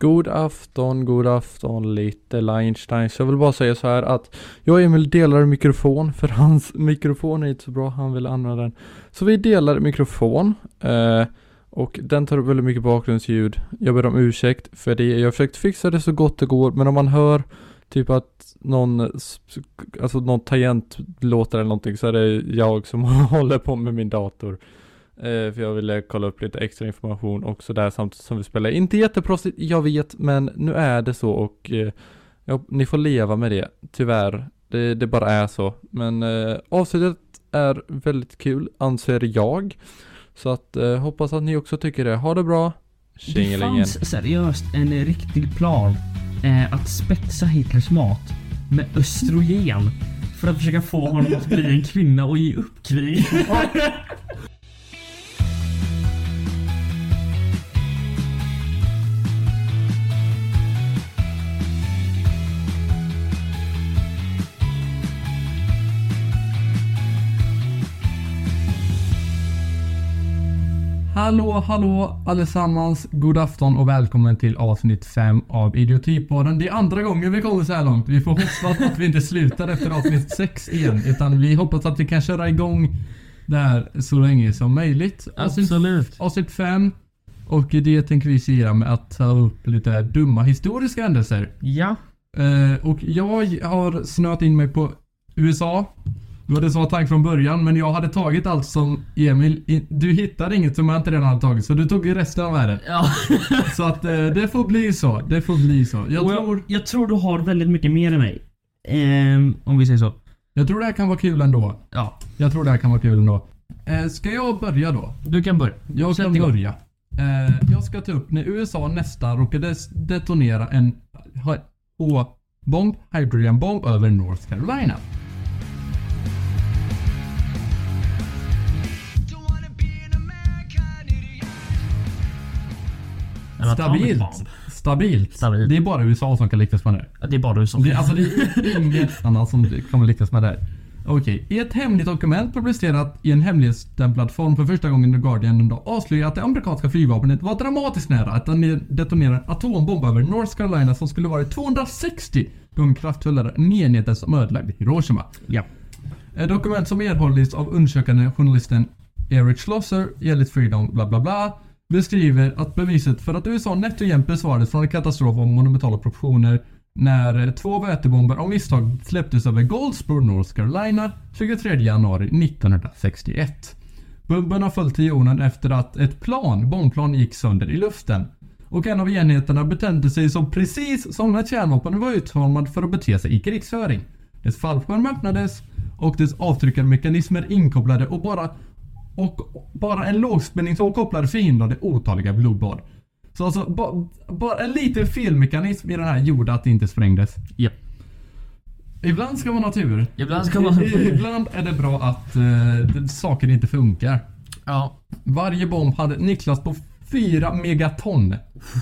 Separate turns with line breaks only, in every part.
God afton, god afton lite Einstein. Så jag vill bara säga så här att jag och Emil delar mikrofon för hans mikrofon är inte så bra, han vill använda den. Så vi delar mikrofon eh, och den tar upp väldigt mycket bakgrundsljud. Jag ber om ursäkt för det. Jag har försökt fixa det så gott det går men om man hör typ att någon, s- alltså någon tangent låter eller någonting så är det jag som håller på med min dator. Eh, för jag ville kolla upp lite extra information också där samtidigt som vi spelar. Inte jätteproffsigt, jag vet, men nu är det så och eh, ja, ni får leva med det, tyvärr. Det, det bara är så. Men eh, avsnittet är väldigt kul, anser jag. Så att eh, hoppas att ni också tycker det. Ha det bra!
Det
Tjingelingen.
fanns seriöst en eh, riktig plan eh, att spetsa Hitlers mat med östrogen för att försöka få honom att bli en kvinna och ge upp krig.
Hallå, hallå allesammans. God afton och välkommen till avsnitt 5 av Idiotipodden. Det är andra gången vi kommer så här långt. Vi får hoppas att vi inte slutar efter avsnitt 6 igen. Utan vi hoppas att vi kan köra igång det här så länge som möjligt. Avsnitt-
Absolut.
Avsnitt 5. Och det tänker vi fira med att ta upp lite dumma historiska händelser.
Ja.
Eh, och jag har snöat in mig på USA. Det var det som var tanken från början, men jag hade tagit allt som Emil... i- Du hittade inget som jag inte redan hade tagit, så du tog ju resten av världen.
ja.
Så att eh, det får bli så. Det får bli så. Jag
Och
tror,
jag, jag tror du har väldigt mycket mer än mig. Ehm, om vi säger så.
jag tror det här kan vara kul ändå.
Ja,
Jag tror det här kan vara kul ändå. Eh, ska jag börja då?
du kan börja.
Jag
Sätt
kan
igång.
börja. Eh, jag ska ta upp när USA nästan råkade s- detonera en h- H-bomb, hydrogenbomb över North Carolina.
En atomic
Stabilt.
bomb.
Stabilt.
Stabilt.
Det är bara USA som kan lyckas med det. här.
Ja, Det är bara du som...
Det, alltså, det är ingen annan som kommer lyckas med det här. Okej. I ett hemligt dokument publicerat i en hemligstämplad form för första gången i The Guardian ändå avslöjar att det amerikanska flygvapnet var dramatiskt nära att done- detonera en atombomb över North Carolina som skulle varit 260 gånger kraftfullare än enheten som ödelagde Hiroshima.
Ja.
Ett Eh, dokument som erhållits av undersökande journalisten Eric Schlosser i enligt Freedom bla bla bla beskriver att beviset för att USA nätt och jämnt besvarades från en katastrof av monumentala proportioner när eh, två vätebomber av misstag släpptes över Goldsboro, North Carolina 23 januari 1961. Bomberna föll till jorden efter att ett plan, bombplan, gick sönder i luften. Och en av enheterna betedde sig som precis som när kärnvapnen var utformad för att bete sig i krigsföring. Dess fallskärm öppnades och dess avtryckarmekanismer inkopplade och bara, och bara en lågspänningsvåg kopplade förhindrade otaliga blodbad. Så alltså, ba, bara en liten felmekanism i den här gjorde att det inte sprängdes.
ja.
Ibland ska man ha tur.
Ibland ska man...
Ibland är det bra att uh, saker inte funkar.
ja.
Varje bomb hade Niklas på 4 megaton.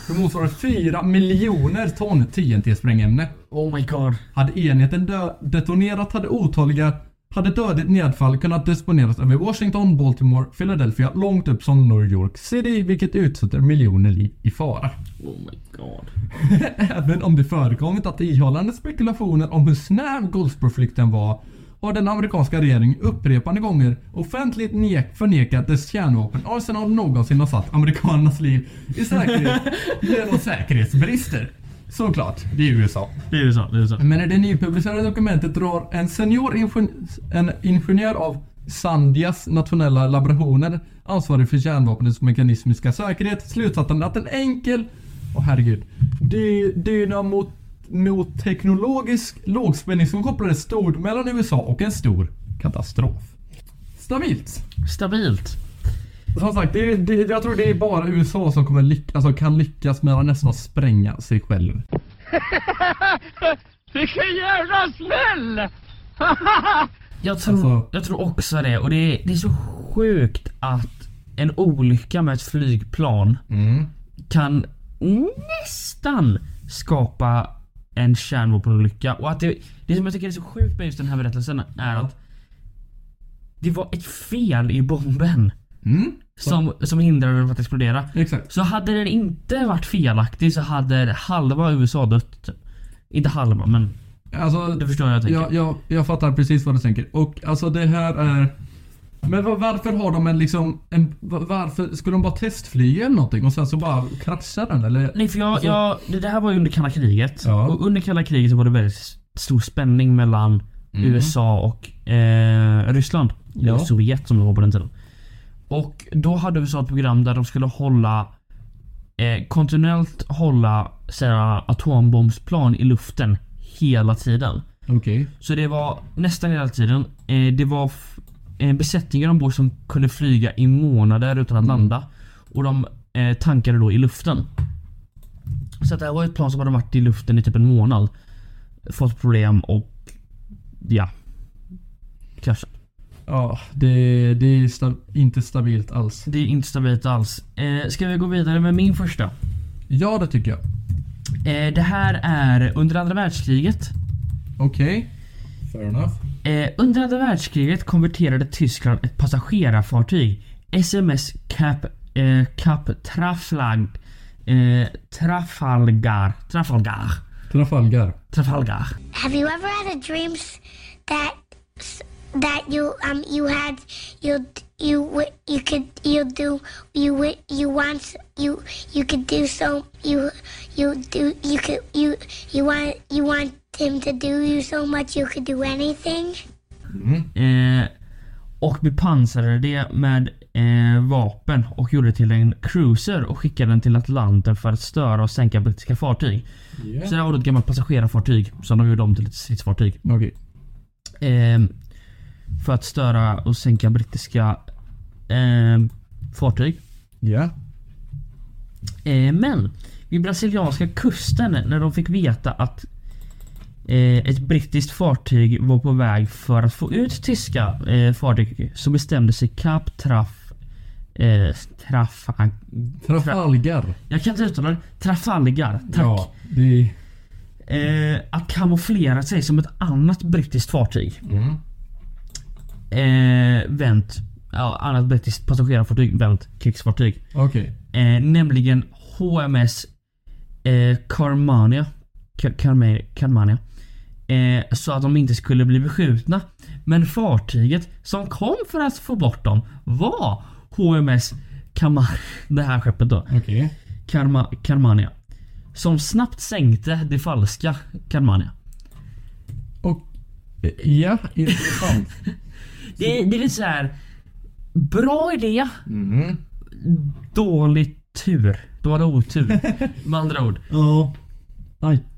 Det motsvarar 4 miljoner ton TNT-sprängämne.
Oh my god.
Hade enheten dö- detonerat hade otaliga hade dödligt nedfall kunnat disponeras över Washington, Baltimore, Philadelphia långt upp som New York City vilket utsätter miljoner liv i fara.
Oh my god.
Även om det förekommit att ihållande spekulationer om hur snäv Goldsboro-flykten var har den amerikanska regeringen upprepade gånger offentligt nek- förnekat dess kärnvapen och sen har någonsin har satt amerikanernas liv i säkerhet genom säkerhetsbrister. Såklart, det är USA.
Det är så, det är så.
Men i det nypublicerade dokumentet drar en senior ingen, en ingenjör av Sandias nationella laborationer ansvarig för kärnvapnets mekaniska säkerhet slutsatsen att en enkel, åh herregud, dy- dynamoteknologisk lågspänning som kopplades stort mellan USA och en stor katastrof. Stabilt.
Stabilt.
Som sagt, det, det, jag tror det är bara USA som kommer lyckas, alltså kan lyckas med att nästan spränga sig själv.
Vilken jävla smäll!
Jag tror,
Alltså-
jag tror också det och det är, det är så sjukt att en olycka med ett flygplan
Mm.
kan nästan skapa en kärnvapenolycka och att det, det som jag tycker är så sjukt med just den här berättelsen är att det var ett fel i bomben.
Mm?
som, som hindrade den från att explodera.
Exakt.
Så hade den inte varit felaktig så hade halva USA dött. typ. Inte halva men
Alltså,
du förstår vad jag tänker.
jag, jag, jag fattar precis vad du tänker. Och alltså det här är... Men va- varför har de en liksom... En, va- varför? Skulle de bara testflyga eller någonting och sen så bara krascha den eller?
Nej för jag, jag, det det här var ju under kalla kriget.
Alltså- Ja.
Och under kalla kriget så var det väldigt stor spänning mellan USA och eh, Ryssland.
Mm. Ja.
Eller Sovjet som det var på den tiden. Och då hade USA ett program där de skulle hålla eh, kontinuerligt hålla såhär, atombombsplan i luften hela tiden.
Okej.
Så det var nästan hela tiden. Eh, det var f- eh, besättningar ombord som kunde flyga i månader utan att landa. Och de eh, tankade då i luften. Så att det här var ett plan som hade varit i luften i typ en månad. Fått problem och ja. Kraschat.
Ja, det, det är sta- inte stabilt alls.
Det är inte stabilt alls. Eh, ska vi gå vidare med min första?
Ja, det tycker jag.
Eh, det här är under andra världskriget.
Okej. Fair enough.
Eh, under andra världskriget konverterade Tyskland ett passagerarfartyg, SMS Cap, eh, Cap Traflag, eh, Trafalgar, Trafalgar,
Trafalgar.
Trafalgar.
Have you ever had a dream s- that s- that you um you had you you w- you could you do you w- you want s- you you could do so you you do you could you you want you want him to do you so much you could do anything?
Eh, och bepansrade det med eh, vapen och gjorde det till en cruiser och skickade den till Atlanten för att störa och sänka brittiska fartyg. Så det här var då ett gammalt passagerarfartyg som de gjorde om till ett stridsfartyg.
Okej.
Ehm, för att störa och sänka brittiska ehm, fartyg.
Ja.
Eh, men vid brasilianska kusten när de fick veta att eh, ett brittiskt fartyg var på väg för att få ut tyska eh, fartyg så bestämde sig Cap Traf... Eh, Trafag...
Trafalgar.
Jag kan inte uttala det. Trafalgar. Tack.
Ja, det är...
Eh, att kamouflera sig som ett annat brittiskt fartyg.
Mm.
Eh, vänt. Ja, annat brittiskt passagerarfartyg. Vänt krigsfartyg.
Okej.
Eh, nämligen HMS eh, Carmania. Car- Carme- Carmania. Eh, så att de inte skulle bli beskjutna. Men fartyget som kom för att få bort dem var HMS Camar... Det här skeppet då.
Okej.
Karma, Carmania. Som snabbt sänkte det falska Carmania.
Och... Ja, intressant.
Det, det är lite såhär... Bra idé. Mm-hmm. Dålig tur. Då var det otur. Med andra ord.
Ja.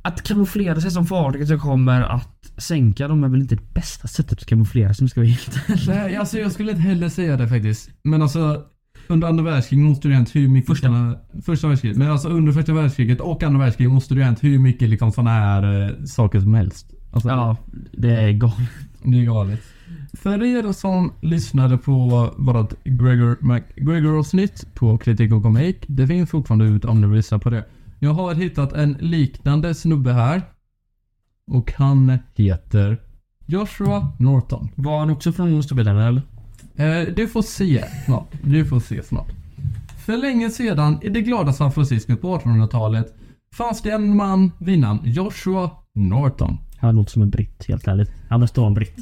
Att kamouflera sig som fartyget som kommer att sänka dem är väl inte det bästa sättet att kamouflera sig om jag ska vara helt ärlig.
Nej, alltså jag skulle inte heller säga det faktiskt. Men alltså, under andra världskriget måste det ju ha hänt hur mycket
Första.
såna- första världskriget. Men alltså under första världskriget och andra världskriget måste det ju ha hänt hur mycket liksom såna här eh, saker som helst. Alltså,
Ja, det är galet.
det är galet. För er som lyssnade på vårat Gregor McGregor-avsnitt på Kritik och Komik. Det finns fortfarande ut om ni vill lyssna på det. Jag har hittat en liknande snubbe här. Och han heter Joshua Norton.
Var han också från Storbritannien eller?
Eh, du får se snart. Du får se snart. För länge sedan i det glada San Francisco på 1800-talet fanns det en man vid namn Joshua Norton.
Han låter som en britt helt ärligt. Han måste vara en britt.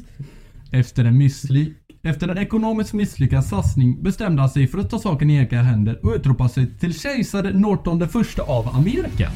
Efter en, missly- efter en ekonomiskt misslyckad satsning bestämde han sig för att ta saken i egna händer och utropa sig till kejsare Norton den första av Amerika.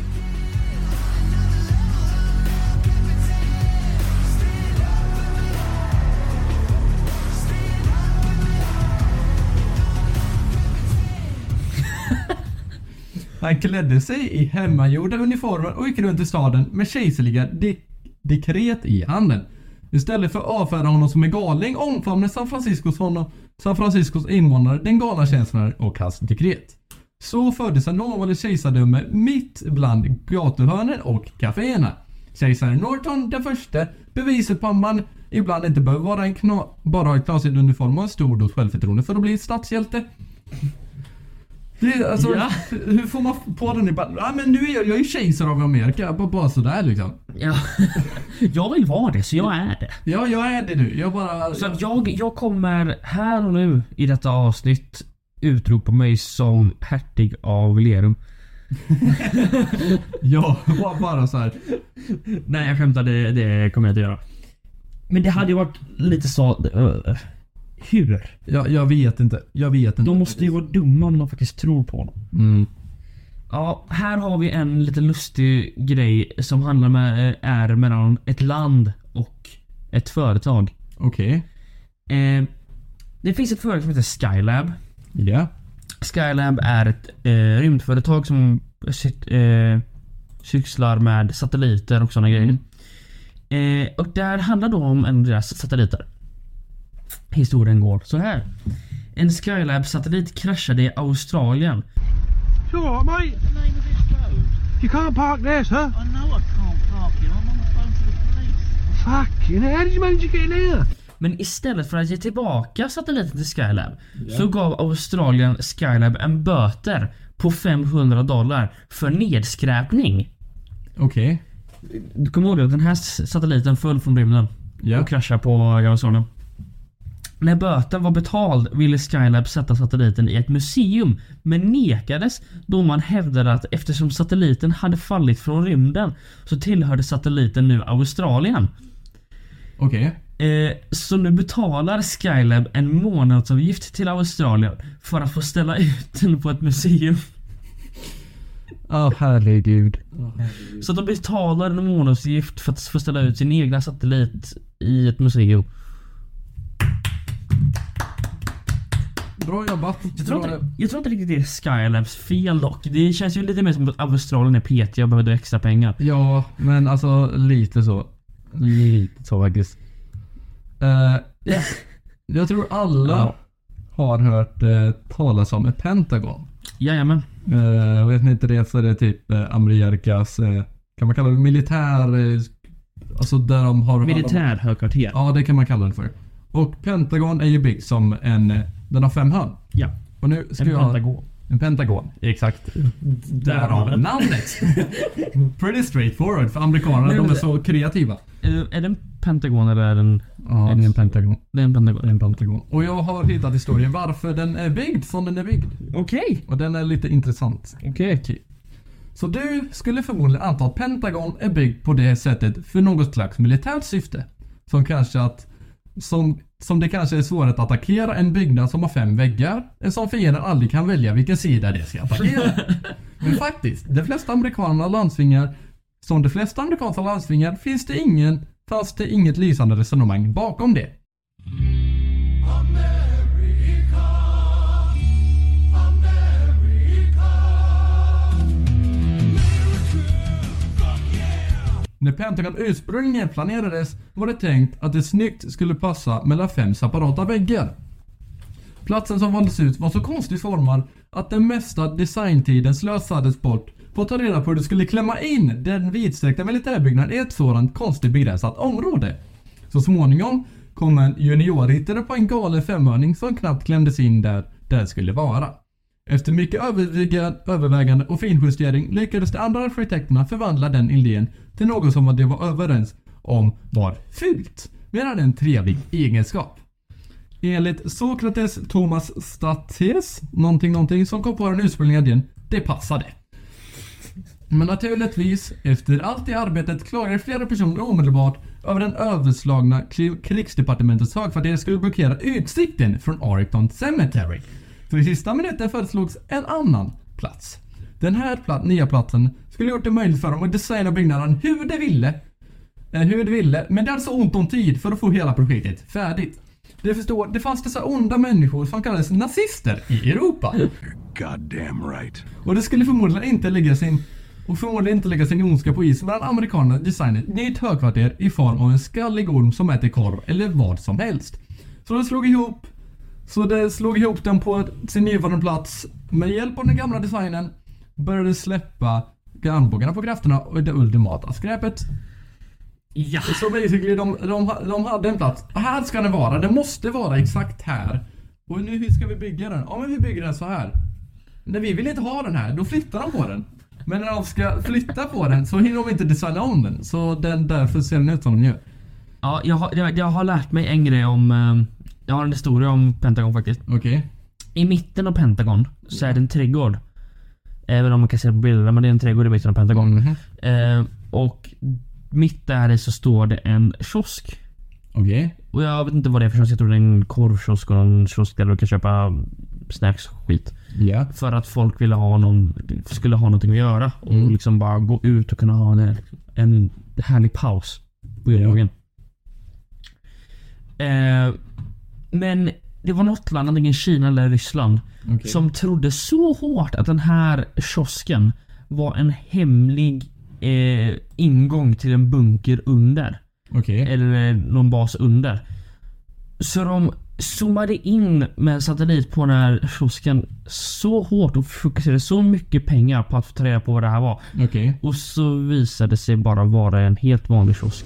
Han klädde sig i hemmagjorda uniformer och gick runt i staden med kejserliga de- dekret i handen. Istället för att avfärda honom som en galning omfamnade San Franciscos, honom, San Franciscos invånare den galna tjänstemannen och hans dekret. Så föddes en lovande kejsardöme mitt bland gatuhörnen och kaféerna. Kejsare Norton den förste beviset på att man ibland inte behöver vara en kna- bara ha en knasig uniform och en stor dos självförtroende för att bli statshjälte. Det är alltså,
Ja.
hur får man på den i bara, ah, men nu är jag, jag är ju kejsare av Amerika, bara, bara sådär liksom.
Ja. Jag vill vara det så jag är det.
Ja, jag är det nu, jag bara...
Så att jag, jag kommer här och nu i detta avsnitt utropa mig som hertig av Lerum.
Ja, bara- bara så här.
Nej jag skämtar, det, det kommer jag inte göra. Men det hade ju varit lite så... eh, hur?
Jag, jag vet inte. Jag vet inte.
De måste ju vara dumma om de faktiskt tror på honom.
Mm.
Ja, här har vi en lite lustig grej som handlar med, eh, är mellan ett land och ett företag.
Okej.
Eh, det finns ett företag som heter Skylab.
Ja.
Skylab är ett eh, rymdföretag som syt, eh, sysslar med satelliter och sådana grejer. Eh, och där handlar då om en av deras satelliter. Historien går så här. En Skylab-satellit kraschade i Australien
It's all right, mate. The name of this road? You can't park there, sir. I know I can't park here. I'm on the phone to the police. Fucking hell, how did you manage to get in here?
Men istället för att ge tillbaka satelliten till Skylab så gav Australien Skylab en böter på 500 dollar för nedskräpning.
Okej.
Du kommer ihåg att den här s- satelliten föll från rymden
Ja.
och kraschade på Amazonen. När böten var betald ville Skylab sätta satelliten i ett museum men nekades då man hävdade att eftersom satelliten hade fallit från rymden så tillhörde satelliten nu Australien.
Okej.
Eh, så nu betalar Skylab en månadsavgift till Australien för att få ställa ut den på ett museum.
Åh herregud.
Så att de betalar en månadsavgift för att få ställa ut sin egna satellit i ett museum.
Bra jobbat.
Jag tror,
Bra
inte, jag tror inte riktigt det är Skylabs fel dock. Det känns ju lite mer som att Australien är petiga och behövde extra pengar.
Ja, men alltså lite så.
Lite så faktiskt.
Eh, jag tror alla
Ja.
har hört eh, talas om ett Pentagon.
Jajamän.
Eh, och vet ni inte det så är det typ eh, Amerikas, eh, kan man kalla det militär, eh, alltså där de har...
Militärhögkvarter.
Ja, det kan man kalla det för. Och Pentagon är ju byggt som en, eh, den har fem hörn.
Ja.
Och nu ska
En
jag...
pentagon.
En pentagon. Exakt. Därav namnet. Pretty straightforward för amerikanerna, de är så kreativa.
Eh, Är det en pentagon eller är det en...
Ja,
det är en
pentagon.
Det är en pentagon.
En pentagon. Och jag har hittat historien varför den är byggd som den är byggd.
Okej.
Och den är lite intressant.
Okej.
Så du skulle förmodligen anta att Pentagon är byggd på det sättet för något slags militärt syfte. Som kanske att... Som, som det kanske är svårare att attackera en byggnad som har fem väggar. En som fienden aldrig kan välja vilken sida det ska attackera. Men faktiskt, de flesta amerikanska landsvingar, som de flesta amerikanska landsvingar, finns det ingen, fanns det inget lysande resonemang bakom det. När Pentagon ursprungligen planerades var det tänkt att det snyggt skulle passa mellan fem separata väggar. Platsen som valdes ut var så konstigt formad att den mesta designtiden slösades bort på att ta reda på hur du skulle klämma in den vidsträckta militärbyggnaden i ett sådant konstigt begränsat område. Så småningom kom en juniorryttare på en galen femhörning som knappt klämdes in där den skulle vara. Efter mycket överväga- övervägande och finjustering lyckades de andra arkitekterna förvandla den idén till något som de var överens om var fult, men hade en trevlig egenskap. Enligt Sokrates Thomas States, någonting någonting, som kom på den ursprungliga idén, det passade. Men naturligtvis, efter allt det arbetet klagade flera personer omedelbart över den överslagna kli- krigsdepartementets högkvarter skulle blockera utsikten från Arlington Cemetery. Så i sista minuten föreslogs en annan plats. Den här pla- nya platsen skulle gjort det möjligt för dem att designa byggnaden hur de ville eh, hur det ville, men det hade så ont om tid för att få hela projektet färdigt. Det förstår, det fanns dessa onda människor som kallades nazister i Europa.
Goddamn right.
Och det skulle förmodligen inte lägga sin och förmodligen inte lägga sin ondska på is medan amerikanerna designade ett nytt högkvarter i form av en skallig orm som äter korv eller vad som helst. Så de slog ihop så det slog ihop den på sin nuvarande plats med hjälp av den gamla designen började släppa armbågarna på krafterna och det ultimata skräpet.
Ja.
Så basically, de, de, de hade en plats. Här ska den vara. Den måste vara exakt här. Och nu hur ska vi bygga den? Ja men vi bygger den så här. Nej vi vill inte ha den här. Då flyttar de på den. Men när de ska flytta på den så hinner de inte designa om den. Så den därför ser den ut som den gör.
Ja, ehm, jag har, jag, jag har lärt mig en grej om... eh, Jag har en historia om Pentagon faktiskt.
Okej.
Eh, I mitten av Pentagon så är det en trädgård. Även om man kan se på bilderna, men det är en trädgård i mitten av Pentagon.
Mhm.
Eh, och mitt där i så står det en kiosk.
Okej.
Och jag vet inte vad det är för kiosk. Jag tror det är en korvkiosk och någon kiosk där du kan köpa snacks och skit.
Ja.
För att folk ville ha någon, skulle ha någonting att göra. Och liksom bara gå ut och kunna ha en, en härlig paus på dagen. Eh, men det var något land, antingen Kina eller Ryssland,
Okej.
som trodde så hårt att den här kiosken var en hemlig eh, ingång till en bunker under
Okej.
eller eh, någon bas under. Så de zoomade in med en satellit på den här kiosken så hårt och fokuserade så mycket pengar på att få ta reda på vad det här var.
Okej.
Och så visade det sig bara vara en helt vanlig kiosk.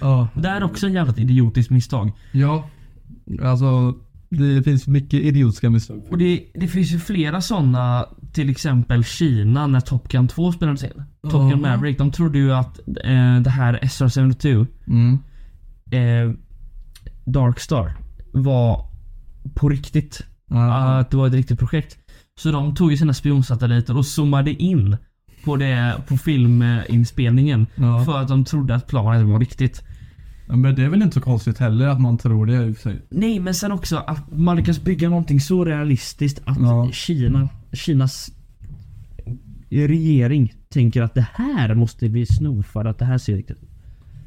Ja.
Det här är också en jävligt idiotiskt misstag.
Ja. Alltså, det finns mycket idiotiska misstag.
Och det, det finns ju flera sådana, till exempel Kina när Top Gun 2 spelades in. Top
Ja.
Gun Maverick, de trodde ju att eh, det här SR-72
Mm.
eh, Dark Star var på riktigt.
Ja.
Att det var ett riktigt projekt. Så de tog ju sina spionsatelliter och zoomade in på, det, på filminspelningen.
Ja.
För att de trodde att planet var riktigt.
Men det är väl inte så konstigt heller att man tror det i och för sig.
Nej men sen också att man lyckas bygga någonting så realistiskt att
Ja.
Kina, Kinas regering tänker att det här måste vi sno för att det här ser riktigt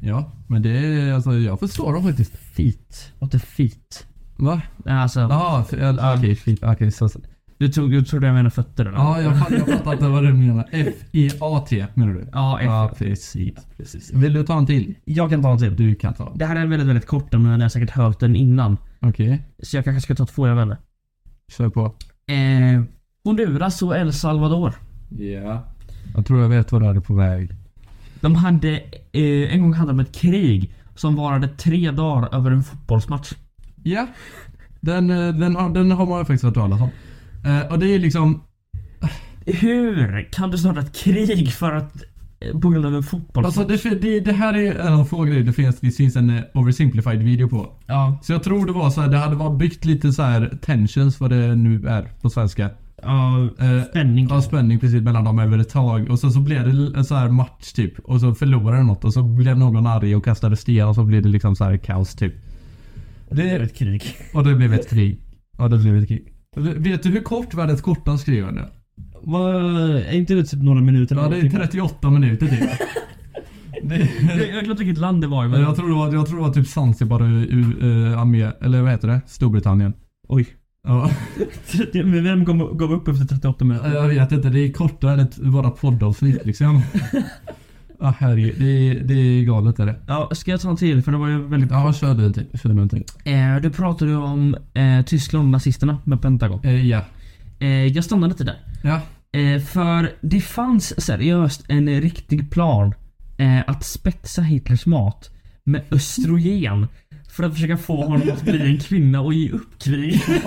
Ja. Men det är, alltså jag förstår dem faktiskt.
fit. What the fit.
Va?
Alltså,
Jaha, f- ja, okej. fint. Okej, så. så-
du, tog, du trodde jag menade fötter eller?
Ja, jag, fatt- jag fattar inte vad du menar. F-E-A-T menar du?
Ja, F.
Ja, precis. precis. Vill du ta en till?
Jag kan ta en till.
Du kan ta en.
Det här är väldigt, väldigt kort men ni har säkert hört den innan.
Okej.
Så jag kanske ska ta två, jag vet inte.
Kör på.
Eh, Honduras och El Salvador.
Ja. Jag tror jag vet vad du är på väg.
De hade, eh, en gång hade de ett krig som varade tre dagar över en fotbollsmatch.
Ja. Den, eh, den, har- den har man ju faktiskt hört talas om. Eh, och det är liksom...
Hur kan du starta ett krig för att, eh, på grund av en fotbollsmatch?
Alltså det, fin- det, det här är en av de frågor det finns, det finns en eh, oversimplified video på.
ja,
Så jag tror det var så här, det hade varit byggt lite så här tensions vad det nu är på svenska.
ja, alltså,
Eh,
spänning.
Ja, spänning precis mellan dem över ett tag och sen så blev det en så här match typ och så förlorade något och så blev någon arg och kastade stenar och så blev det liksom så här kaos typ.
Det är ett krig.
Och det blev ett krig. Ja, det blev ett krig. Vet du hur kort världens kortaste skrev nu?
är inte det typ några minuter?
Ja, det är 38 minuter typ. det,
jag jag glömde vilket land det var i, men...
jag, tror det var, jag tror det var typ Zanzibar i uh, Armé, eller vad heter det? Storbritannien.
Oj.
Ja,
Men Vem gav, gav upp efter 38 minuter?
jag vet inte, det är kortare än ett, våra poddavsnitt liksom. ah, herregud, det, är- det är galet är det.
Ja, ska jag ta en till? För det var ju väldigt
Ja, kör du en till. Kör du en till.
Eh, du pratade ju om eh, Tyskland och nazisterna med Pentagon.
Eh, ja.
Eh, jag stannar lite där.
Ja.
Eh, för det fanns seriöst en riktig plan eh, att spetsa Hitlers mat med östrogen för att försöka få honom att bli en kvinna och ge upp krig.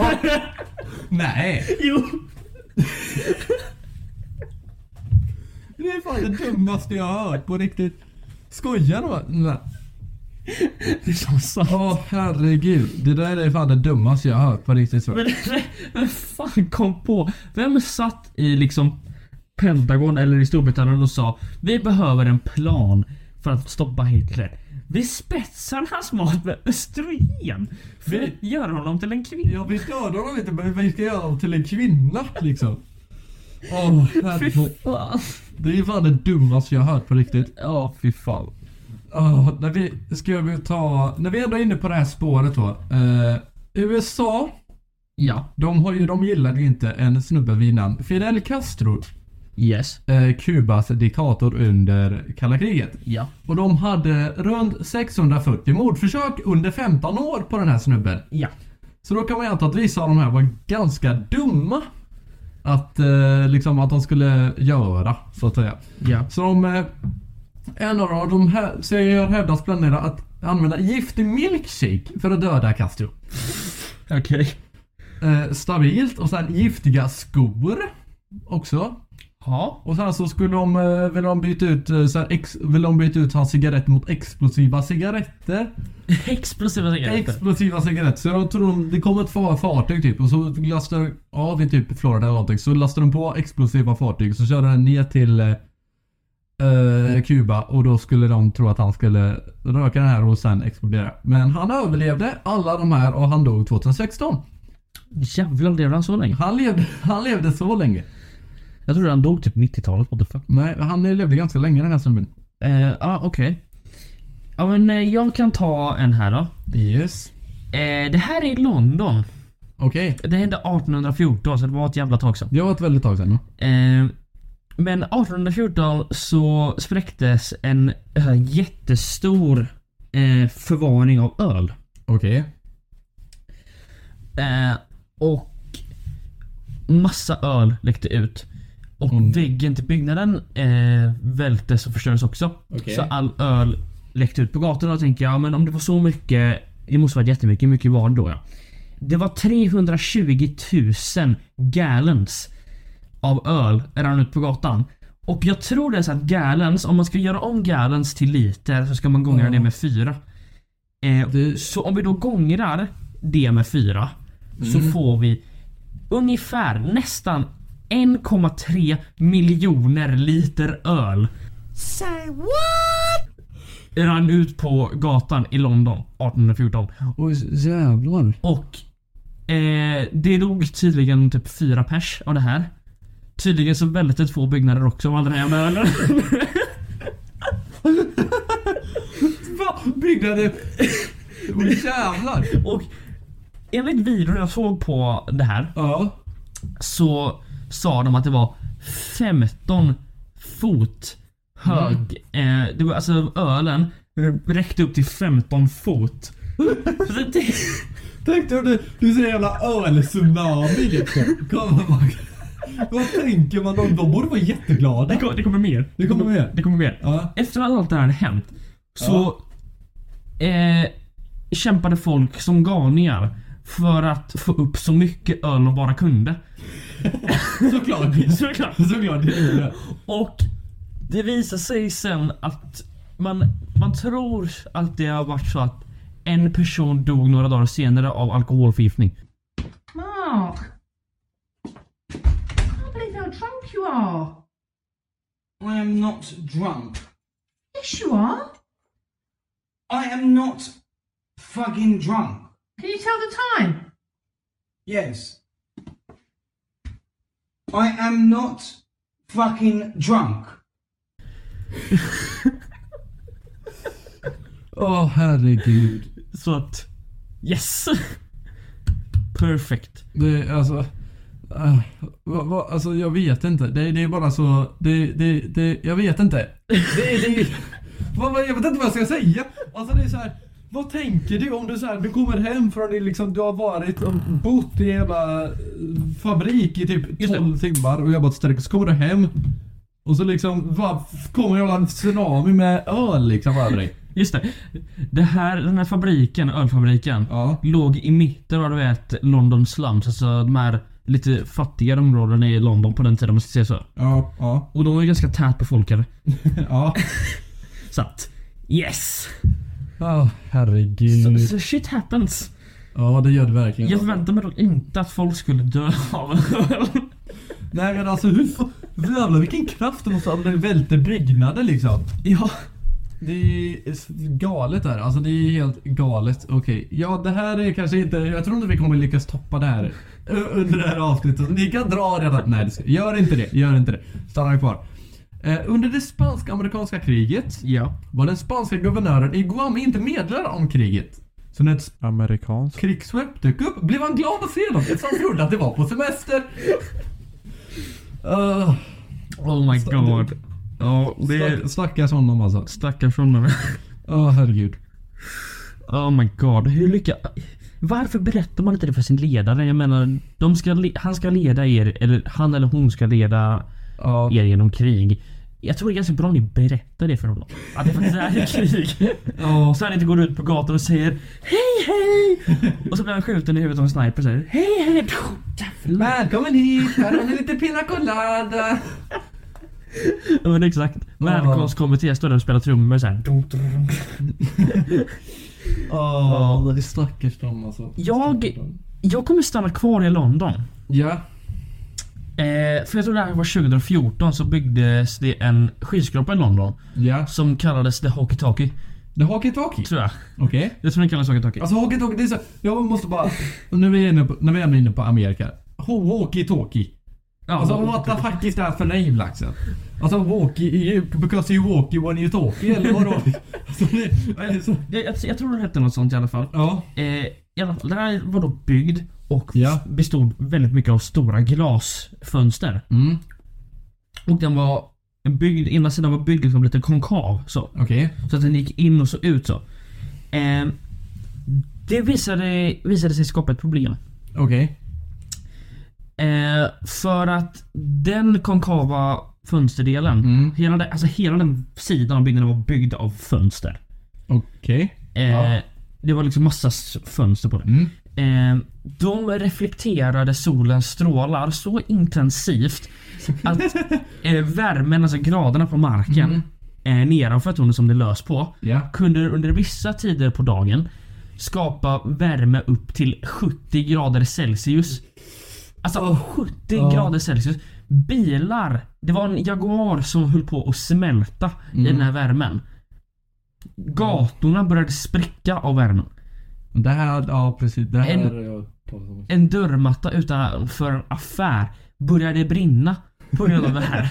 Nej!
jo!
Det är fan det dummaste jag har hört på riktigt. Skojar du? Nej.
Det är så sant.
Ja, herregud. Det där är fan det dummaste jag har hört på riktigt. tror jag.
Men vem fan kom på? Vem satt i liksom Pentagon eller i Storbritannien och sa Vi behöver en plan för att stoppa Hitler. Vi spetsar hans mat med östrogen för att göra honom till en kvinna.
Ja, vi dödar dem inte, men vi ska göra dem till en kvinna liksom. Åh,
Fy
herregud.
fan.
Det är fan det dummaste jag har hört på riktigt.
Ja, fy fan.
Åh, när vi, ska vi ta, när vi ändå är inne på det här spåret då. Eh, USA,
Ja.
de, har ju, de gillade ju inte en snubbe vid namn Fidel Castro.
Yes.
eh, Kubas diktator under kalla kriget.
Ja.
Och de hade runt 640 mordförsök under 15 år på den här snubben.
Ja.
Så då kan man ju anta att vissa av de här var ganska dumma. Att, eh, liksom, att de skulle göra, så att säga.
Ja.
Så de, eh, en av dem, de här, så jag hävdas planera att använda giftig milkshake för att döda Castro.
Okej.
Eh, stabilt och sen giftiga skor också.
Ja.
Och sen så skulle de, eh, ville de byta ut, eh, så här, ex, ville de byta ut hans cigaretter mot explosiva cigaretter.
Explosiva cigaretter.
Explosiva cigaretter. Så de tror de, det kommer ett far- fartyg typ och så lastar de, ja det är typ Florida eller någonting. Så lastar de på explosiva fartyg så kör den ner till eh, eh, Kuba och då skulle de tro att han skulle röka den här och sen explodera. Men han överlevde alla de här och han dog 2016.
Jävlar, levde han så länge?
Han levde, han levde så länge.
Jag trodde han dog typ 90-talet, what the fuck.
Nej, han levde ganska länge den här snubben.
Eh, ah, okej. Ja men eh, jag kan ta en här då.
Yes.
Eh, det här är i London.
Okej.
Det hände 1814 så det var ett jävla tag sedan.
Det var ett väldigt tag sedan. va?
Eh, men 1814 så spräcktes en så här, jättestor eh, förvaring av öl.
Okej.
Eh, och massa öl läckte ut. Och
Mm.
väggen till byggnaden eh, vältes och förstördes också.
Okej.
Så all öl läckte ut på gatorna och tänkte jag, men om det var så mycket, det måste varit jättemycket, hur mycket var det då ja? Det var 320 000 gallons av öl rann ut på gatan. Och jag tror det är så att gallons, om man ska göra om gallons till liter så ska man gångra
Ja.
det med fyra. Eh,
Det-
Så om vi då gångrar det med fyra så
Mm.
får vi ungefär nästan 1,3 miljoner liter öl rann ut på gatan i London 1814.
Oj jävlar.
Och eh, det dog tydligen typ fyra pers av det här. Tydligen så välte två byggnader också av all den här jävla ölen.
Va? Byggnader? Oj jävlar.
Och enligt videon jag såg på det här
Ja.
så sa de att det var 15 fot hög.
Mm.
Eh, det var alltså ölen räckte upp till 15 fot. Så det,
Tänk dig om du, du ser en jävla öltsunami liksom. Kommer man. Vad tänker man? De, de borde vara
det,
jätteglada.
kom, det kommer mer.
Det kommer mer.
Det kommer mer.
Ja.
Efter att allt det här hade hänt så eh, kämpade folk som galningar för att få upp så mycket öl de bara kunde.
Såklart.
Såklart.
Såklart. det är det.
Och det visar sig sen att man, man tror att det har varit så att en person dog några dagar senare av alkoholförgiftning.
Mark! I can't believe how drunk you are.
I am not drunk.
Yes, you are.
I am not fucking drunk.
Can you tell the time?
Yes. I am not fucking drunk.
Åh herregud.
Så att... Yes! Perfect.
Det är alltså... äh, vad- vad- alltså jag vet inte. Det, det är bara så... Det, det, det, jag vet inte. Det, det, vad, vad, jag vet inte vad jag ska säga. Alltså det är så här. Vad tänker du om du, så här, du kommer hem från det liksom, du har varit och bott i en jävla eh, fabrik i typ
Just det.
12 timmar och jobbat sträck så kommer du hem och så liksom bara f- kommer en jävla tsunami med öl liksom över dig.
Just det. det här, den här fabriken, ölfabriken,
Ja.
låg i mitten av du vet London slums, alltså de här lite fattigare områdena i London på den tiden om man ska säga så.
Oh,
Ja, ja,
Och de var ju ganska tätt befolkade.
ja.
Så att... Yes!
Åh herregud.
So shit happens.
Ja det gör det verkligen.
Jag förväntade mig dock inte att folk skulle dö av öl.
Nej men alltså hur jävlar vilken kraft det måste ha när det välter byggnader liksom. Ja. Det är s- galet där. Alltså det är helt galet. Okej, ja det här är kanske inte, jag tror inte vi kommer lyckas toppa det här u- under det här avsnittet. Ni kan dra redan. Nej, det ska, gör inte det. Gör inte det. Stanna kvar. Eh, under det spansk-amerikanska kriget
Ja.
var den spanska guvernören i Guam inte meddelad om kriget. Så när ett
Amerikansk.
krigsskepp dök upp blev han glad att se dem eftersom han trodde att det var på semester. Uh,
Oh my god. Ja, det är
Stackars honom alltså.
stackars honom.
Ja, herregud.
Oh my god. Hur lyckas... Varför berättar man inte det för sin ledare? Jag menar, de ska le- han ska leda er, eller han eller hon ska leda
Ja,
er genom krig. Jag tror det är ganska bra om ni berättar det för honom. Att det faktiskt är krig.
Ja.
Så han inte går ut på gatan och säger Hej hej! Och så blir han skjuten i huvudet av en sniper och säger Hej hej! Jävlar.
Välkommen hit! Här har ni lite pina colada!
Ja men exakt. Välkomstkommitté står där och spelar trummor såhär.
Åh, det är stackars dem alltså.
Jag, jag kommer stanna kvar i London.
Ja.
Eh, för jag tror det här var 2014 så byggdes det en skyskrapa i London.
Ja.
Som kallades The Hockey Talkie.
Det är hockey-talkie.
Tror jag.
Okej.
Jag tror den kallades Hockey Talkie.
Alltså hockey-talkie, det är så... Jag måste bara... när, vi är inne på, när vi är inne på Amerika. Hockey-talkie.
Ja,
Alltså what the fuck is that för name liksom? Alltså walkie, you- because you walkie when you talkie eller vadå? alltså, det, vad är det så?
jag, jag, jag tror den hette något sånt i alla fall.
Ja.
Eh, i alla fall, den här var då byggd och
Ja.
bestod väldigt mycket av stora glasfönster.
Mm.
Och den var byggd, ena sidan var byggd liksom lite konkav så.
Okej.
Så att den gick in och så ut så. Ehm, det visade, visade sig skapa ett problem.
Okej.
Eh, för att den konkava fönsterdelen,
Mm.
hela, den, alltså hela den sidan av byggnaden var byggd av fönster.
Okej.
Eh,
Ja.
Det var liksom massa s- fönster på det.
Mm.
Eh, de reflekterade solens strålar så intensivt att eh, värmen, alltså graderna på marken eh, nedanför tornet som det lös på,
Mm. Ja.
kunde under vissa tider på dagen skapa värme upp till 70 grader Celsius. Alltså 70
Ja.
grader Celsius. Bilar, det var en Jaguar som höll på att smälta i den här värmen. Gatorna började spricka av värmen.
Det här, ja precis. Det här
En-
har jag talat om.
En dörrmatta utanför en affär började brinna på grund av det här.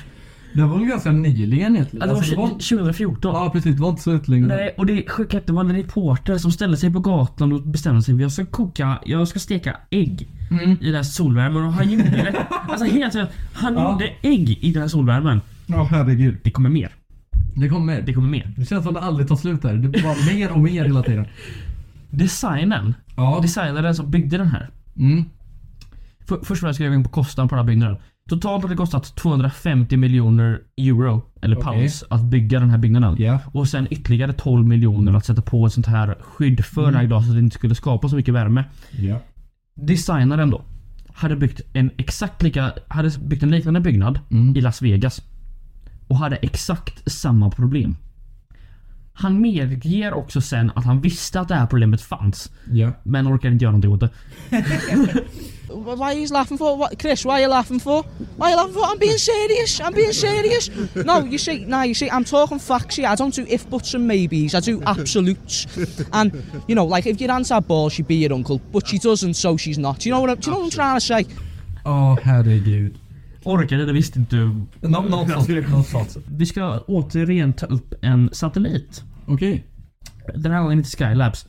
Det var väl ganska nyligen egentligen?
Ja, det var
Alltså,
tj- 2014.
Ja precis, det var inte så jättelänge.
Nej, och det sjuka är att det var en reporter som ställde sig på gatan och bestämde sig för jag ska koka, jag ska steka ägg
Mm.
i den här solvärmen och han gjorde det. Alltså helt enkelt, han
Ja.
gjorde ägg i den här solvärmen.
Ja herregud.
Det kommer mer.
Det kommer.
Det
Det,
kommer mer.
det känns som att det aldrig tar slut där. Det blir bara mer och mer hela tiden.
Designen,
Ja.
designaren som byggde den här.
Mm.
För, först var jag skrev in på kostnaden på den här byggnaden. Totalt har det kostat 250 miljoner euro, eller
Okej.
pounds, att bygga den här byggnaden.
Ja.
Och sen ytterligare 12 miljoner att sätta på ett sånt här skydd för det här glaset så att det inte skulle skapa så mycket värme.
Mm. Ja.
designaren då hade byggt en exakt lika, hade byggt en liknande byggnad
Mm.
i Las Vegas. Och hade exakt samma problem. Han medger också sen att han visste att det här problemet fanns.
Ja.
Men orkade inte göra någonting åt det.
Why he's laughing for? What, Chris? Why are you laughing for? Why are you laughing for? I'm being serious. I'm being serious. No, you see, now you see, I'm talking facts here. I don't do if buts and maybes. I do absolutes. And you know, like if your aunt had balls, she'd be your uncle, but she doesn't, so she's not. Do you know what? I'm, do you know what I'm trying to say?
Åh herregud.
Orkade, det visste inte.
Nå- Något sånt. Något sånt.
Vi ska återigen ta upp en satellit.
Okej.
Den här gången inte Skylabs.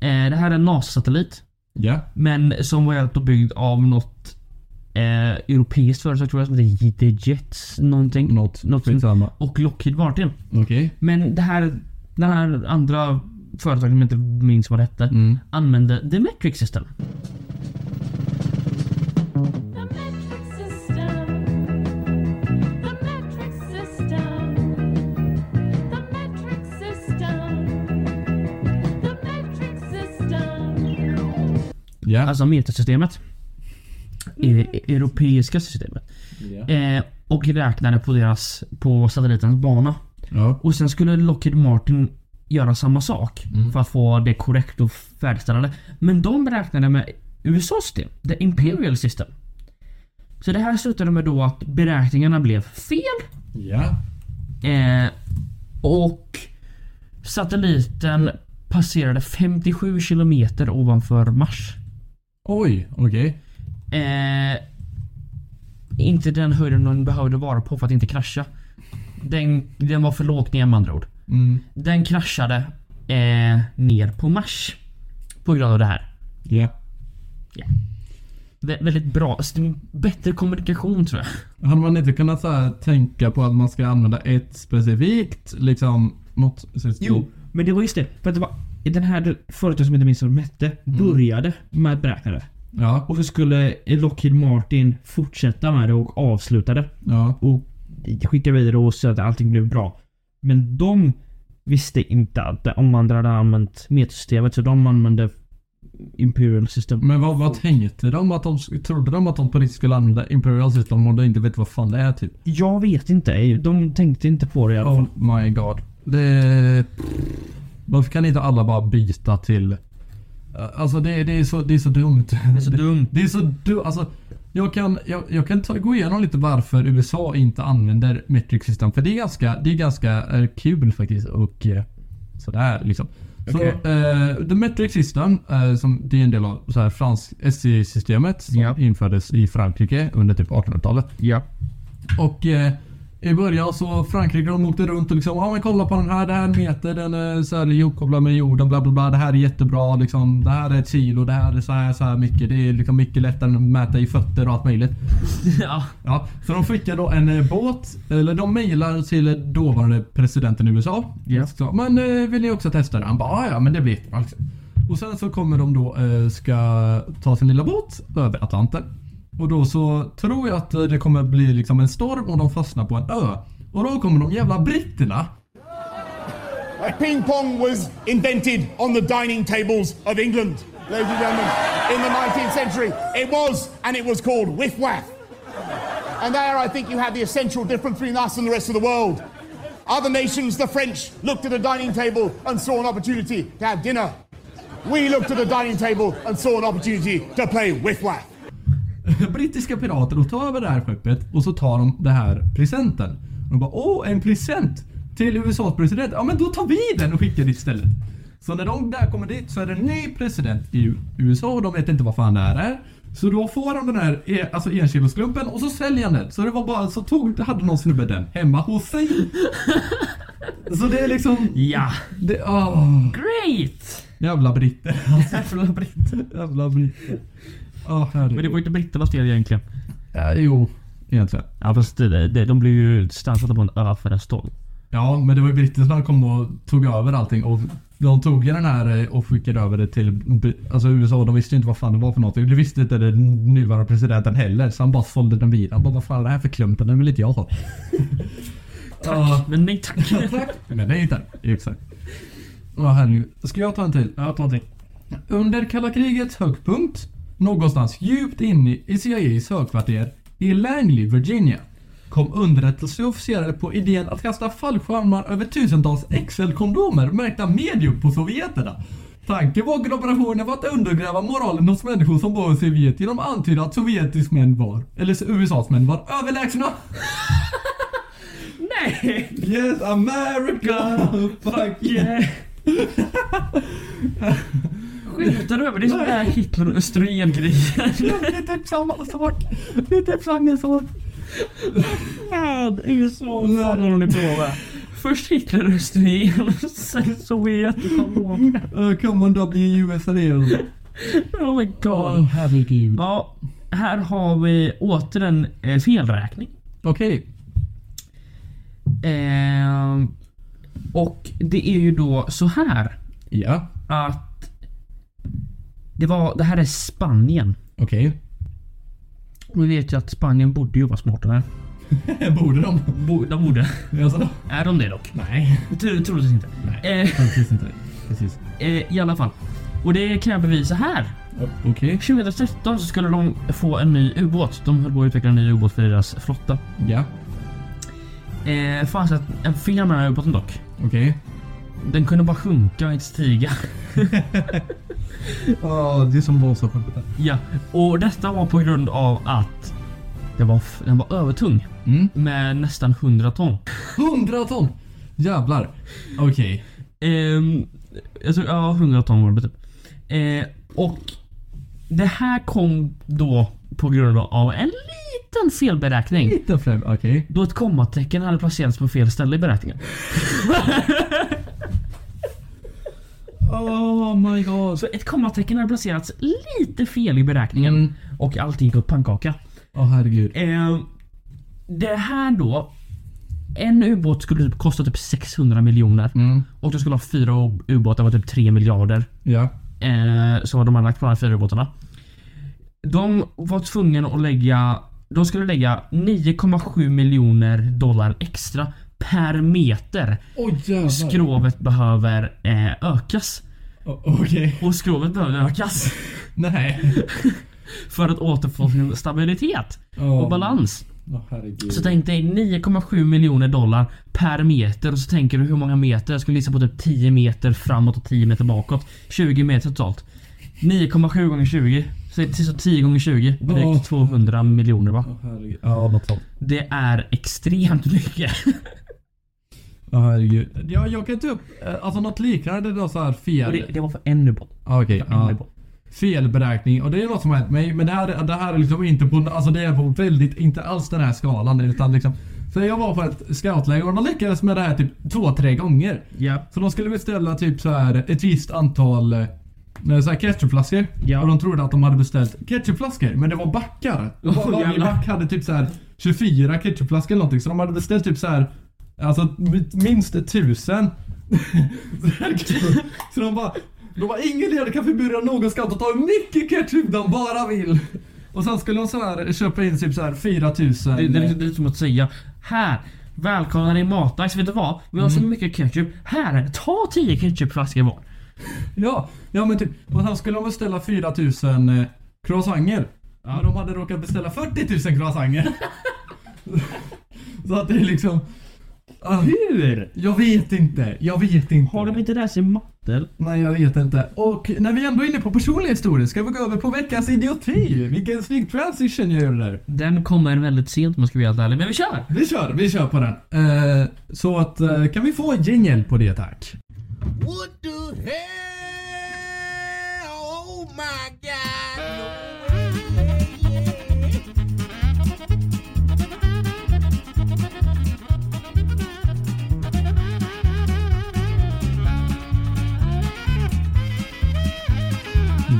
Eh, det här är en NASA-satellit.
Ja.
Men som var helt och byggd av något eh, europeiskt företag tror jag som heter The Jets någonting.
Något.
Något som-
Skitsamma.
och Lockheed Martin.
Okej.
Men det här, den här andra företaget som jag inte minns vad det hette
Mm.
använde The Metric System.
The metric system. The metric system. The metric system. The metric system.
Ja.
Alltså metersystemet. E- europeiska systemet. Eh, och räknade på deras, på satellitens bana.
ja.
Och sen skulle Lockheed Martin göra samma sak
Mm.
för att få det korrekt och färdigställande. Men de räknade med USAs system, the
Mm.
Imperial system. Så det här slutade med då att beräkningarna blev fel.
Ja.
Eh, och satelliten passerade 57 kilometer ovanför Mars.
Oj. Okej.
Eh, inte den höjden den behövde vara på för att inte krascha. Den, den var för lågt ner med andra ord. Den kraschade eh, ner på Mars. På grund av det här.
Ja.
Vä- väldigt bra. Alltså, det är Bättre kommunikation tror jag.
Hade man inte kunnat så här, tänka på att man ska använda ett specifikt liksom något system?
men det var just det. För att det var den här företaget som jag inte minns vad de hette började med att beräkna det.
Ja.
Och så skulle Lockheed Martin fortsätta med det och avsluta det.
Ja.
Och
skicka vidare och se att allting blev bra. Men de visste inte att de andra hade använt metasystemet så de använde Imperial System.
Men vad, vad tänkte de? Att de? Trodde de att de på riktigt skulle använda Imperial System och de inte vet vad fan det är typ?
Jag vet inte. De tänkte inte på det i alla
Oh
fall.
my god. Det... Varför kan inte alla bara byta till... Alltså det, det, är, så, det är så dumt. Det är så
dumt.
Det, är så dumt. Alltså, jag kan, jag, jag kan ta, gå igenom lite varför USA inte använder metric system. För det är ganska, det är ganska eh, kul faktiskt och eh, sådär liksom. Så,
Okej.
eh, the metric system, eh, som det är en del av så här, fransk SC-systemet som
Ja.
infördes i Frankrike under typ 1800-talet.
Ja.
Och eh, i början så Frankrike de åkte runt och liksom, ja men kolla på den här, det här meter, den är så här ihopkopplad med jorden, bla bla bla, det här är jättebra liksom, det här är ett kilo, det här är så här, så här mycket, det är liksom mycket lättare än att mäta i fötter och allt möjligt.
Ja.
Ja, så de skickar då en eh, båt, eller de mejlar till eh, dåvarande presidenten i USA.
Ja.
Så, men eh, vill ni också testa det? Han bara, "Ja, ja men det blir jättebra. liksom." Och sen så kommer de då, eh, ska ta sin lilla båt över Atlanten. Och då så tror jag att eh, det kommer bli liksom en storm och de fastnar på en ö. Och då kommer de jävla britterna.
Like ping pong was invented on the dining tables of England, ladies and gentlemen, in the 19th century. It was, and it was called whiff waff. And there, I think you have the essential difference between us and the rest of the world. Other nations, the French, looked at a dining table and saw an opportunity to have dinner. We looked at a dining table and saw an opportunity to play whiff waff.
brittiska pirater och tar över det här skeppet och så tar de den här presenten. Och de bara åh, en present till USAs president. Ja men då tar vi den och skickar dit istället. Så när de där kommer dit så är det en ny president i U- USA och de vet inte vad fan det här är. Så då får de den här e- alltså enkilosklumpen och så säljer han den. Så det var bara så tog, hade någon snubbe den hemma hos sig. så det är liksom...
Ja.
Det, åh.
Great!
Jävla britter. Jävla britter. Jävla britter. Ja, herregud.
Men det var ju inte britternas fel egentligen.
Ja, Eh, jo, egentligen.
Ja fast det, det, de blev ju stansade på en ö för en storm.
Ja, men det var ju britterna som kom och tog över allting och de tog ju den här eh, och skickade över det till b- alltså USA. De visste ju inte vad fan det var för någonting. Det visste inte den nuvarande presidenten heller. Så han bara sålde den vidare. Han bara vad fan är det här för klumpen? Den vill inte jag ha.
Tack, men nej tack.
Men det är ju inte Exakt. Åh herregud. Ska jag ta en till? Ja, ta en till. Under kalla krigets högpunkt, någonstans djupt inne i CIAs högkvarter i Langley, Virginia, kom underrättelseofficerare på idén att kasta fallskärmar över tusentals XL-kondomer märkta medium på sovjeterna. Tanken bakom operationen var att undergräva moralen hos människor som bor i Sovjet genom att antyda att sovjetisk män var, eller USAs män var överlägsna.
Nej!
Yes America! Fuck yeah!
Skämtar du över? Det är som det här Hitler och Österlen-grejen.
Det är typ samma sak. Det är typ samma sak.
Fan, USA. Vad fan håller ni på med? Först Hitler och Österlen, sen Sovjet och kondom.
Uh, come on WUSRE.
Oh my god.
Åh herregud.
Ja, här har vi åter en eh, felräkning.
Okej.
Ehm, och det är ju då så här
Ja.
att det var, det här är Spanien.
Okej.
Och vi vet ju att Spanien borde ju vara smartare.
Borde de?
Bo, de borde.
Alltså,
Är de det dock?
nej.
Tro- Troligtvis inte. Eh,
Precis inte. Precis.
eh, I alla fall. Och det kan jag bevisa här.
Okej.
2013 så skulle de få en ny ubåt. De höll på att utveckla en ny ubåt för deras flotta.
Ja.
Eh, fanns ett- en fel med den här ubåten dock.
Okej.
Den kunde bara sjunka och inte stiga.
Åh, det är som Bonzo-skämtet.
Ja, och detta var på grund av att den var, f- den var övertung.
Mm.
Med nästan 100 ton.
100 ton! Jävlar. Okej.
Ehm, jag tror, ja, 100 ton var det typ. Eh, och det här kom då på grund av en liten felberäkning.
Lite främ. Okej.
Då ett kommatecken hade placerats på fel ställe i beräkningen.
Oh my god.
Så ett kommatecken hade placerats lite fel i beräkningen
Mm.
och allting gick åt pannkaka.
Åh herregud.
Eh, det här då. En ubåt skulle typ kosta typ 600 miljoner och du skulle ha fyra u- ubåtar var typ 3 miljarder.
Ja.
Eh, som de hade lagt på de här fyra ubåtarna. De var tvungna att lägga de skulle lägga 9,7 miljoner dollar extra per meter.
Oh,
skrovet behöver eh, ökas.
Okej.
Och skrovet behöver ökas.
Nej.
för att återfå sin stabilitet
Ja.
och balans.
Åh, herregud.
Så tänk dig 9,7 miljoner dollar per meter och så tänker du hur många meter? Jag skulle gissa på typ 10 meter framåt och 10 meter bakåt. 20 meter totalt. 9,7 gånger 20. Så det är så 10 gånger 20. Direkt
Ja.
200 miljoner va?
herregud. Ja, något sånt.
Det är extremt mycket.
Ja, herregud. Jag, jag kan ta upp eh, alltså något liknande då så här
Och
fel.
det, det var för en ubåt.
Ah, Okej.
För en
ja.
ubåt.
Felberäkning och det är något som har hänt mig. Men det här, det här är liksom inte på, alltså det är på väldigt, inte alls den här skalan utan liksom. Så jag var på ett scoutläger och de lyckades med det här typ två, tre gånger.
Ja.
Så de skulle beställa typ så här ett visst antal eh, så här ketchupflaskor. Och de trodde att de hade beställt ketchupflaskor men det var backar.
Åh,
Var- Varje
jävlar.
back hade typ så här 24 ketchupflaskor eller någonting så de hade beställt typ så här Alltså minst ett tusen. så de bara, de bara ingen ledare kan förbjuda någon scout att ta hur mycket ketchup de bara vill. Och sen skulle de så här köpa in typ så här 4000.
Det, det, är liksom, det är som att säga Här! Välkomna till Matdags. Vet du vad? Vi har så mycket ketchup. Här! Ta 10 ketchupflaskor var.
Ja, ja men typ. Och sen skulle de beställa 4000 eh, croissanter. Men de hade råkat beställa 40 000 croissanter. så att det är liksom... Hur? Jag vet inte. Jag vet inte. Har de
inte läst sig matte?
Nej, jag vet inte. Och när vi ändå är inne på personliga historier ska vi gå över på veckans idioti. Vilken snygg transition jag gjorde där.
Den kommer väldigt sent om jag ska vara helt ärlig. Men vi kör!
Vi kör, vi kör på den. Eh, så att, eh, kan vi få jingel på det tack?
What the hell? Oh my god.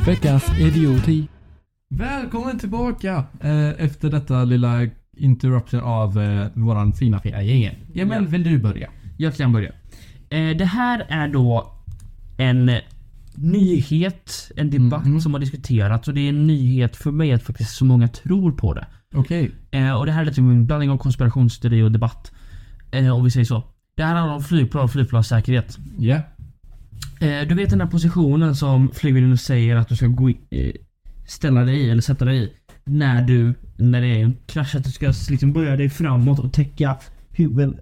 Veckans idioti.
Välkommen tillbaka eh, efter detta lilla interruption av eh, våran fina fina jingel. Jamen, vill du börja?
Jag kan börja. Eh, det här är då en nyhet, en debatt som har diskuterats och det är en nyhet för mig att faktiskt så många tror på det.
Okej.
Eh, och det här är lite en blandning av konspirationsteori och debatt. Eh, och vi säger så. Det här handlar om flygplan och flygplanssäkerhet.
Ja.
Eh, du vet den här positionen som flygvärdinnor säger att du ska gå i, eh, ställa dig i eller sätta dig i. När du, när det är en krasch, att du ska liksom böja dig framåt och täcka huvud,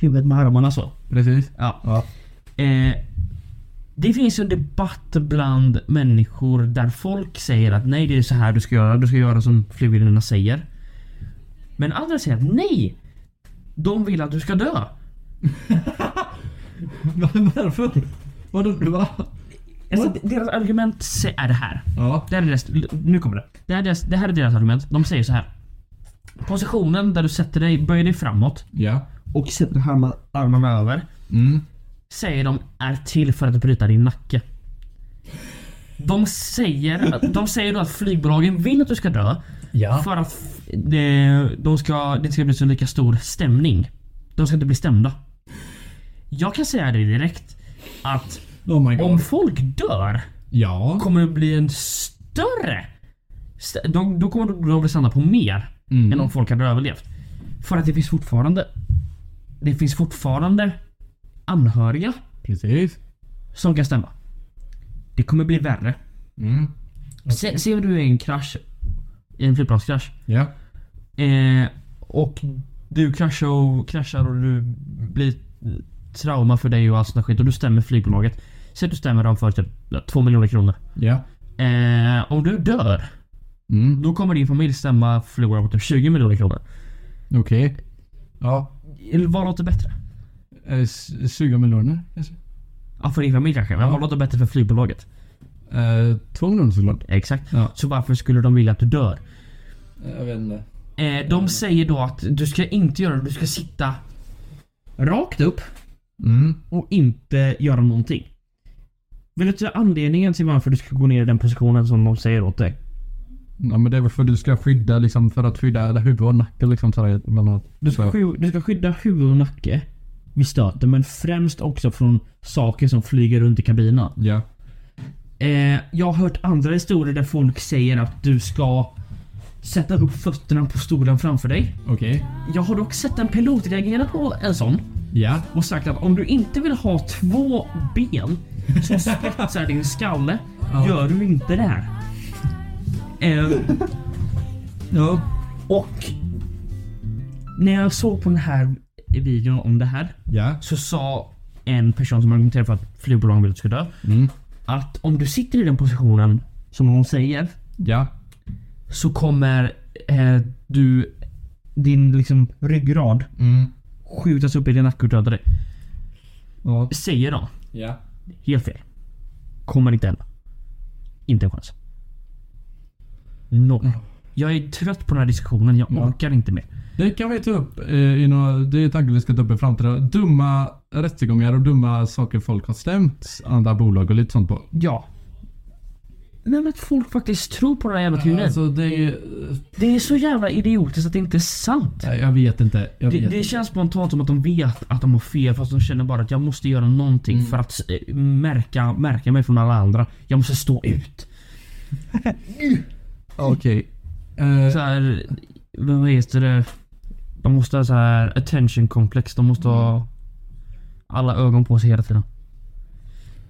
huvudet med armarna så.
Precis.
Ja. Eh, det finns ju en debatt bland människor där folk säger att nej det är så här du ska göra, du ska göra som flygvärdinnorna säger. Men andra säger att nej! De vill att du ska dö.
Varför? Vadå? Va?
Alltså, deras argument se- är det här.
Ja.
Det här är deras, nu kommer det. Det här, är deras, det här är deras argument. De säger så här. Positionen där du sätter dig, böjer dig framåt.
Ja.
Och sätter armarna, armarna över.
Mm.
Säger de är till för att bryta din nacke. De säger, att- de säger då att flygbolagen vill att du ska dö.
Ja.
För att f- det, de ska, det ska bli så lika stor stämning. De ska inte bli stämda. Jag kan säga det direkt. Att
Oh my God.
om folk dör
Ja.
kommer det bli en större... st- De, då kommer de bli stanna på mer
Mm.
än om folk hade överlevt. För att det finns fortfarande... Det finns fortfarande anhöriga
Precis.
som kan stämma. Det kommer bli värre.
Mm.
Se, ser du en krasch, en flygplanskrasch.
Ja.
Eh, och du kraschar och, kraschar och du blir trauma för dig och allt sånt där skit och du stämmer flygbolaget. Säg att du stämmer dem för typ 2 miljoner kronor.
Ja.
Eh, om du dör, då kommer din familj stämma förlorare på typ 20 miljoner kronor.
Okej. Ja.
Eller Vad låter bättre?
Eh, s- 20 miljoner kanske?
Ja, för din familj kanske, men vad låter bättre för flygbolaget?
Eh, 2 miljoner såklart.
Exakt.
Ja.
Så varför skulle de vilja att du dör?
Jag vet inte.
Eh, de säger då att du ska inte göra det, du ska sitta rakt upp och inte göra någonting. Vill du anledningen till varför du ska gå ner i den positionen som de säger åt dig?
Ja men det är väl för att du ska skydda liksom för att skydda huvud och nacke liksom sådär bland annat.
Du ska, sky- du ska skydda huvud och nacke vid stöten men främst också från saker som flyger runt i kabinen.
Ja.
Eh, jag har hört andra historier där folk säger att du ska sätta upp fötterna på stolen framför dig.
Okej.
Jag har dock sett en pilot reagera på en sån.
Ja.
Och sagt att om du inte vill ha två ben som spetsar din skalle,
Ja.
gör du inte det här. Eh, ja. Och när jag såg på den här videon om det här så sa en person som argumenterade för att flygbolagen vill att du ska dö att om du sitter i den positionen som hon säger
ja.
så kommer eh, du din liksom ryggrad skjutas upp i din nacke och döda dig. Säger de.
Ja.
Helt fel. Kommer inte hända. Inte en chans. Noll. Jag är trött på den här diskussionen. Jag orkar inte mer.
Det kan vi ta upp eh, i några, det är tanken vi ska ta upp i framtiden. Dumma rättegångar och dumma saker folk har stämt andra bolag och lite sånt på.
Ja. Men att folk faktiskt tror på den här jävla teorin.
Alltså, det, är,
det är så jävla idiotiskt att det inte är sant.
Jag vet inte. Jag
Det,
vet.
det känns spontant som att de vet att de har fel fast de känner bara att jag måste göra någonting för att eh, märka, märka mig från alla andra. Jag måste stå ut.
Okej.
Så här, vad heter det? De måste ha så här attention komplex. De måste ha alla ögon på sig hela tiden.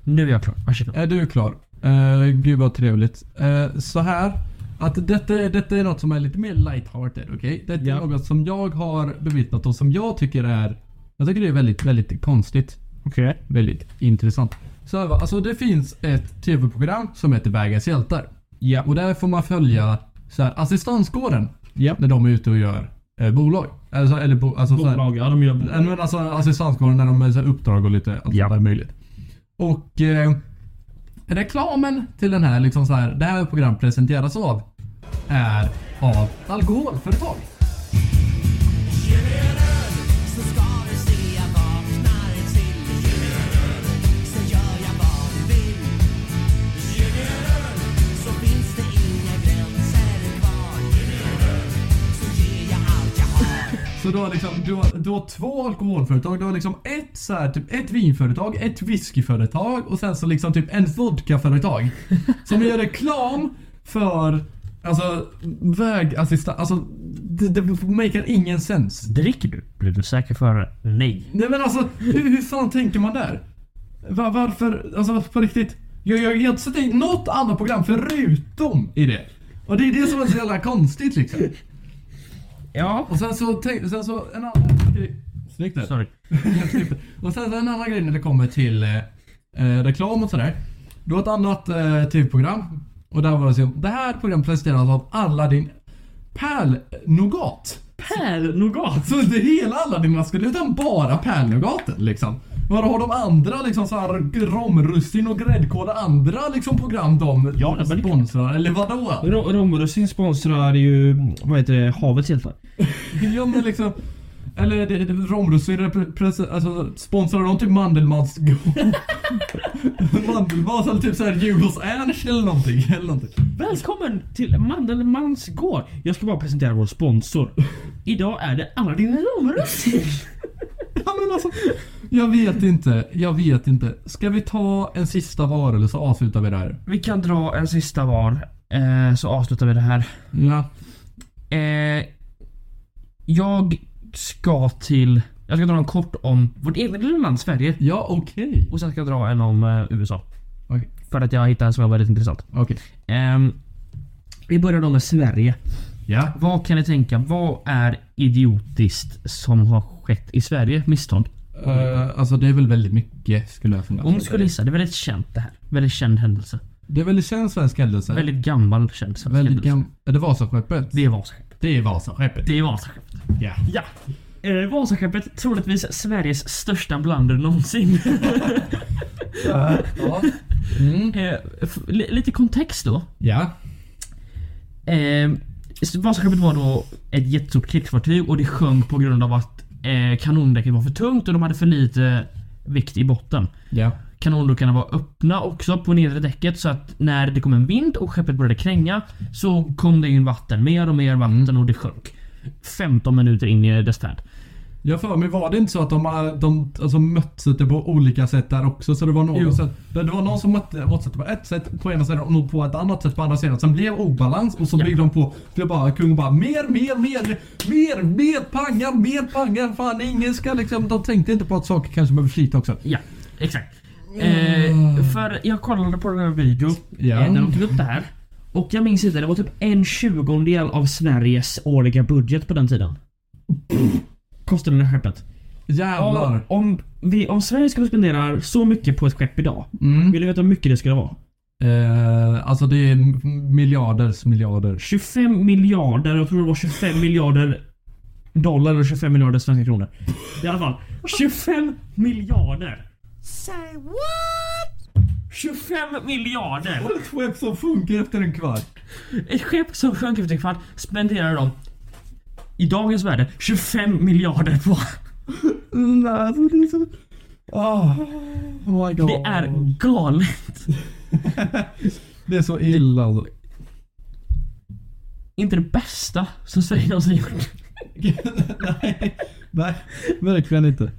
Nu är jag klar. Varsågod.
Är du klar? Eh, gud vad trevligt. Eh, så här. Att detta, detta är något som är lite mer lighthearted, okej? Detta är något som jag har bevittnat och som jag tycker är... Jag tycker det är väldigt, väldigt konstigt.
Okej.
Väldigt intressant. Så här, va, alltså det finns ett tv-program som heter Vägens hjältar.
Ja.
Och där får man följa så här, assistanskåren.
Ja.
När de är ute och gör eh, bolag. Alltså, eller bo, alltså, så här-
Bolag, ja de gör...
Nej, men alltså assistanskåren när de har uppdrag och lite allt sånt där möjligt. Och eh, reklamen till den här, liksom så här, det här programmet presenteras av, är av alkoholföretag. Så du har liksom, du har, du har två alkoholföretag, du har liksom ett så här, typ ett vinföretag, ett whiskyföretag och sen så liksom typ en vodkaföretag. Som gör reklam för, alltså vägassistans, alltså det, det maker ingen sens.
Dricker du? Blir du säker före? Nej.
Nej men alltså, hur, hur fan tänker man där? Va- varför, alltså på riktigt? Jag, jag, jag har inte sett in något annat program förutom i det. Och det är det som är så jävla konstigt liksom.
Ja.
Och sen så, tänk, sen så en annan grej. Snyggt där.
Sorry.
och sen så en annan grej när det kommer till eh, eh, reklam och sådär. Du har ett annat eh, tv-program. Och där var det så, det här programmet presenteras av Aladdin Pärlnougat.
Pärlnougat?
Så inte hela Aladdin-masken utan bara pärlnougaten liksom. Var har de andra liksom så här romrussin och gräddkål andra liksom program de sponsrar? Eller vadå?
Ro- Romrussin sponsrar ju, vad heter det, havets hjältar.
Ja men liksom Eller det- det- Romrussin repre- presen- alltså, sponsrar de typ Mandelmans Mandelmans eller typ såhär Julos Ernst eller någonting, eller någonting.
Välkommen till Mandelmans gård. Jag ska bara presentera vår sponsor. Idag är det Aladdin Romrussin.
Ja men alltså Jag vet inte, jag vet inte. Ska vi ta en sista varelse så avslutar vi det här?
Vi kan dra en sista var, eh, så avslutar vi det här.
Ja.
Eh, jag ska till... Jag ska dra en kort om vårt eget lilla land Sverige.
Ja, okej.
Och sen ska jag dra en om eh, USA.
Okej.
För att jag hittade en som var väldigt intressant.
Okej.
Ehm, vi börjar då med Sverige.
Ja.
Vad kan ni tänka? Vad är idiotiskt som har skett i Sverige? Misstånd.
Eh, alltså det är väl väldigt mycket skulle jag fundera
Om du skulle gissa, det är väldigt känt det här. Väldigt känd händelse.
Det är väldigt känd svensk händelse.
Väldigt gammal känd svensk
Väldigt
händelse.
gam... Är det Vasaskeppet?
Det är Vasaskeppet.
Det är Vasaskeppet.
Det är Vasaskeppet.
Ja.
Ja. Eh, Vasaskeppet, troligtvis Sveriges största blunder någonsin.
Ja.
Eh, f- li- lite kontext då.
Ja.
Eh, Vasaskeppet var då ett jättestort krigsfartyg och det sjönk på grund av att eh, kanondäcket var för tungt och de hade för lite vikt i botten.
Ja.
Kanondockarna var öppna också på nedre däcket så att när det kom en vind och skeppet började kränga
Mm.
så kom det in vatten, mer och mer vatten och det sjönk. 15 minuter in i dess färd.
Jag för mig var det inte så att de, äh, de alltså, möttes lite på olika sätt där också? Så det var någon, så, det var någon som mötte Watson på ett sätt på ena sidan och nog på ett annat sätt på andra sidan. Sen blev obalans och så byggde de på. Det bara, kungen bara mer, mer, mer, mer, mer pangar, mer pangar. Fan ingen ska liksom. De tänkte inte på att saker kanske behöver slita också.
Ja, exakt. Eh, för jag kollade på den här videon
Mm. Ja.
eh, när de tog upp det här. Och jag minns inte, det var typ en tjugondel av Sveriges årliga budget på den tiden. Kostade det här skeppet.
Jävlar.
Och Om, vi, om Sverige skulle spendera så mycket på ett skepp idag,
Mm.
vill du veta hur mycket det skulle vara?
Eh, alltså det är m- miljarders miljarder.
25 miljarder, jag tror det var 25 miljarder dollar eller 25 miljarder svenska kronor. I alla fall, 25 miljarder!
Say what?
25 miljarder!
Ett skepp som funkar efter en kvart.
Ett skepp som sjönk efter en kvart spenderar de i dagens värde 25 miljarder på.
Nej, alltså det är så... Ah, oh my god.
Det är galet.
Det är så illa alltså.
Inte det bästa som Sverige någonsin gjort.
Nej, verkligen inte.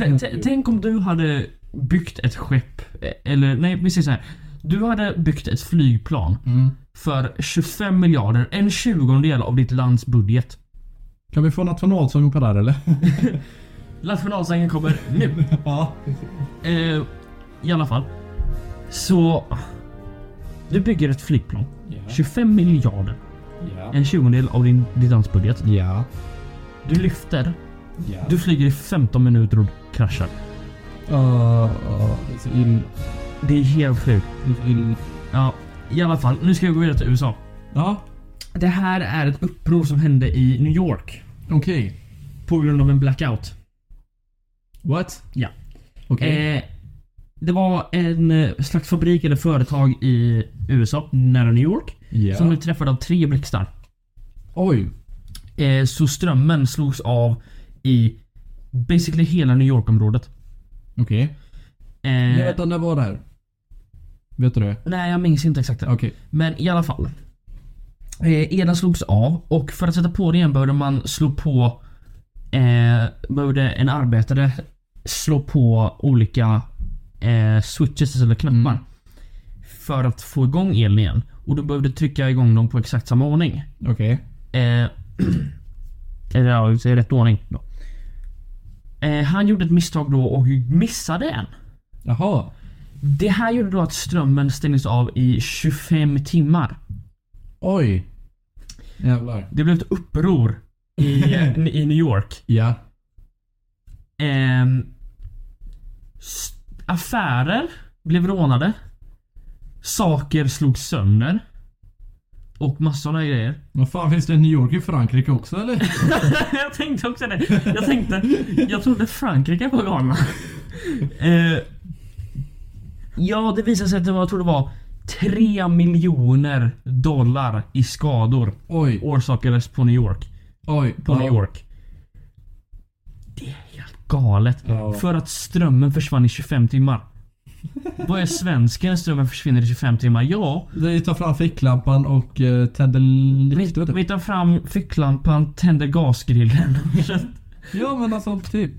T- t- Tänk om du hade byggt ett skepp, eh, eller nej vi säger så här. Du hade byggt ett flygplan för 25 miljarder, en tjugondel av ditt lands budget.
Kan vi få nationalsång på det här eller?
Nationalsången kommer nu.
ja.
eh, I alla fall. Så... Du bygger ett flygplan. 25 miljarder. En tjugondel av din, ditt lands budget.
Ja.
Du lyfter. Du flyger i 15 minuter och kraschar.
Ah, ah, det är så illa.
Det är helt sjukt. Ja, i alla fall. Nu ska vi gå vidare till USA.
Ja.
Det här är ett uppror som hände i New York.
Okej.
På grund av en blackout.
What?
Ja.
Okej.
Eh, det var en eh, slags fabrik eller företag i USA, nära New York,
Ja.
som blev träffad av tre blixtar.
Oj.
Eh, så strömmen slogs av i basically hela New York-området.
Okej.
Eh,
Jag vet att när var det här? Vet du det?
Nej, jag minns inte exakt. det.
Okej.
Men i alla fall. Eh, elen slogs av och för att sätta på den igen behövde man slå på... Eh, behövde en arbetare slå på olika eh, switches eller knappar. För att få igång elen igen. Och du behövde trycka igång dem på exakt samma ordning.
Okej.
Eh, eller ja, i rätt ordning. Då. Eh, han gjorde ett misstag då och missade en.
Jaha.
Det här gjorde då att strömmen stängdes av i 25 timmar.
Oj. Jävlar.
Det blev ett uppror i,
Mm.
i New York.
Ja.
Ehm, s- affärer blev rånade. Saker slogs sönder. Och massor av grejer.
Vad fan finns det i New York i Frankrike också eller?
jag tänkte också det. Jag tänkte, jag trodde Frankrike var galna. Eh, ja, det visade sig att det var, jag tror det var 3 miljoner dollar i skador
Oj.
orsakades på New York.
Oj.
På New York. Det är helt galet.
Ja.
För att strömmen försvann i 25 timmar. Vad är svensken när strömmen försvinner i 25 timmar? Ja,
Vi tar fram ficklampan och uh, tänder lite vet du.
vi tar fram ficklampan, tänder gasgrillen.
Ja men alltså typ.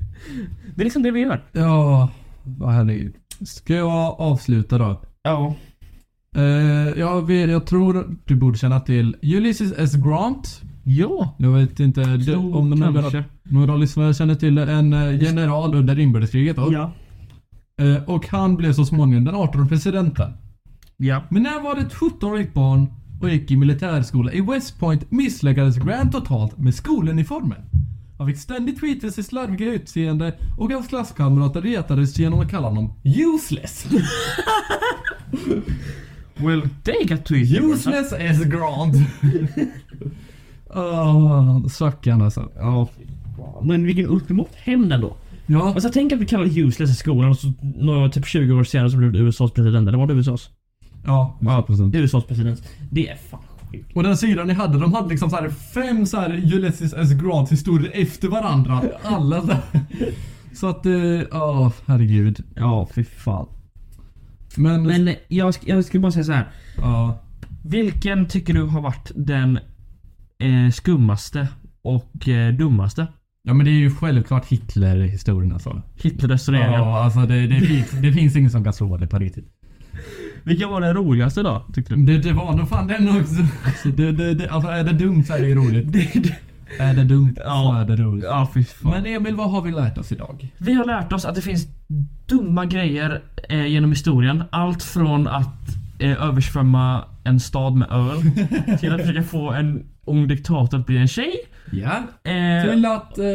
Det är liksom det vi gör.
Ja, vad herregud. Ska jag avsluta då?
Ja.
Eh, jag, vet, jag tror du borde känna till Ulysses S. Grant.
Ja.
Jag vet inte du,
Tror
om några,
kanske.
några lyssnare känner till en eh, general under inbördeskriget. Då.
Ja.
Eh, och han blev så småningom den 18 presidenten.
Ja.
Men när var det ett 17-årigt barn och gick i militärskola i West Point misslyckades Grant totalt med skoluniformen. Han fick ständigt skit för sitt slarviga utseende och hans klasskamrater retades genom att kalla honom useless.
Well, they got to it.
Useless as Grant. oh, stackarn alltså.
Ja. Men vilken ultimat hämnd ändå.
Ja.
Alltså tänk att vi kallar det useless i skolan och så några, typ 20 år senare så blev det USAs president. Eller var det USAs?
Ja, 100%.
USAs president. Det är fan sjukt.
Och den syran ni hade, de hade liksom så här fem så här Ulysses S. Grants historier efter varandra. Alla så, här. så att, eh, ja herregud.
Ja, fy fan.
Men,
Men eh, jag, sk- jag skulle bara säga så här.
ja.
Vilken tycker du har varit den eh, skummaste och eh, dummaste
Ja men det är ju självklart Hitler-historien alltså.
Hitler-restaureringen.
Ja, alltså det, det, finns, det finns ingen som kan slå det på riktigt.
Vilken var den roligaste då? Tyckte du?
Det, det var nog fan den också. Alltså, det, det, det, alltså är det dumt så är det ju roligt. Är det dumt så
Ja.
är det roligt.
Ja, fy fan.
Men Emil, vad har vi lärt oss idag?
Vi har lärt oss att det finns dumma grejer eh, genom historien. Allt från att eh, översvämma en stad med öl till att försöka få en ung diktator att bli en tjej.
Ja.
Eh,
Till att... Eh,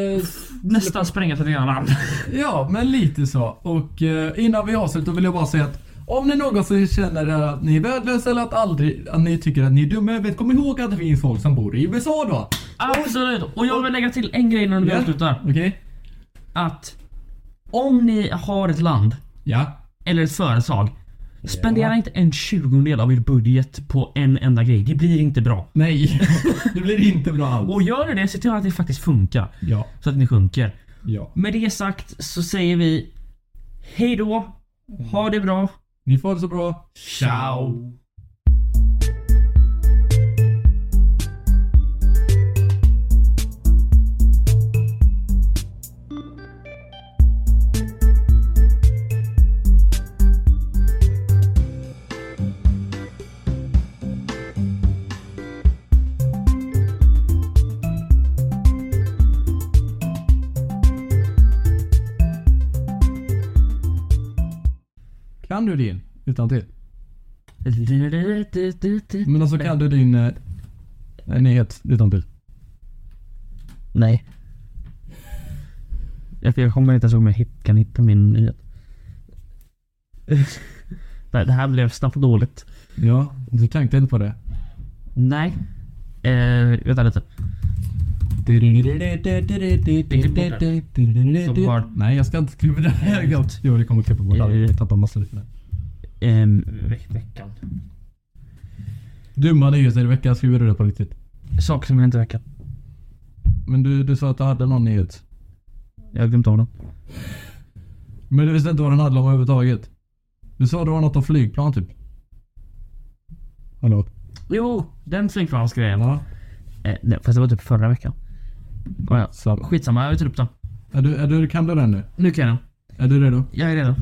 nästan spränga till annan.
Ja, men lite så. Och eh, innan vi avslutar vill jag bara säga att om ni någonsin känner er att ni är värdelösa eller att, aldrig, att ni tycker att ni är dumma i huvudet, kom ihåg att det finns folk som bor i USA då.
Absolut! Och jag vill lägga till en grej innan vi
Ja.
avslutar.
Okej?
Att om ni har ett land
Ja.
eller ett företag Spendera inte en tjugondel av er budget på en enda grej. Det blir inte bra.
Nej, det blir inte bra alls.
Och gör ni det, se till att det faktiskt funkar.
Ja.
Så att ni sjunker.
Ja.
Med det sagt så säger vi hej då. Ha det bra.
Ni får det så bra.
Ciao!
Kan du din utan till? Men alltså kan du din eh, nyhet utan till?
Nej. Jag jag kommer inte ens ihåg om jag hit- kan hitta min nyhet. Nej, Det här blev snabbt dåligt.
Ja, du tänkte inte på det.
Nej. Eh, vänta lite. Så var-
Nej, jag ska inte klippa det här. gott. Jo, det kommer klippa bort allt. Jag tappar massa lyssnare.
Ehm, ve- veckan.
Dumma nyheter i veckan skriver du det på riktigt.
Saker som hänt i veckan.
Men du, du sa att du hade någon nyhet.
Jag har glömt av den.
Men du visste inte vad den handlade om överhuvudtaget. Du sa det var något om flygplan typ. Hallå?
Jo, den flygplansgrejen.
Ja.
Eh, nej, fast det var typ förra veckan. Oh, ja.
Sam-
Skitsamma, jag tar upp den.
Är du, är du, kan du den nu?
Nu kan jag den.
Är du redo?
Jag är redo.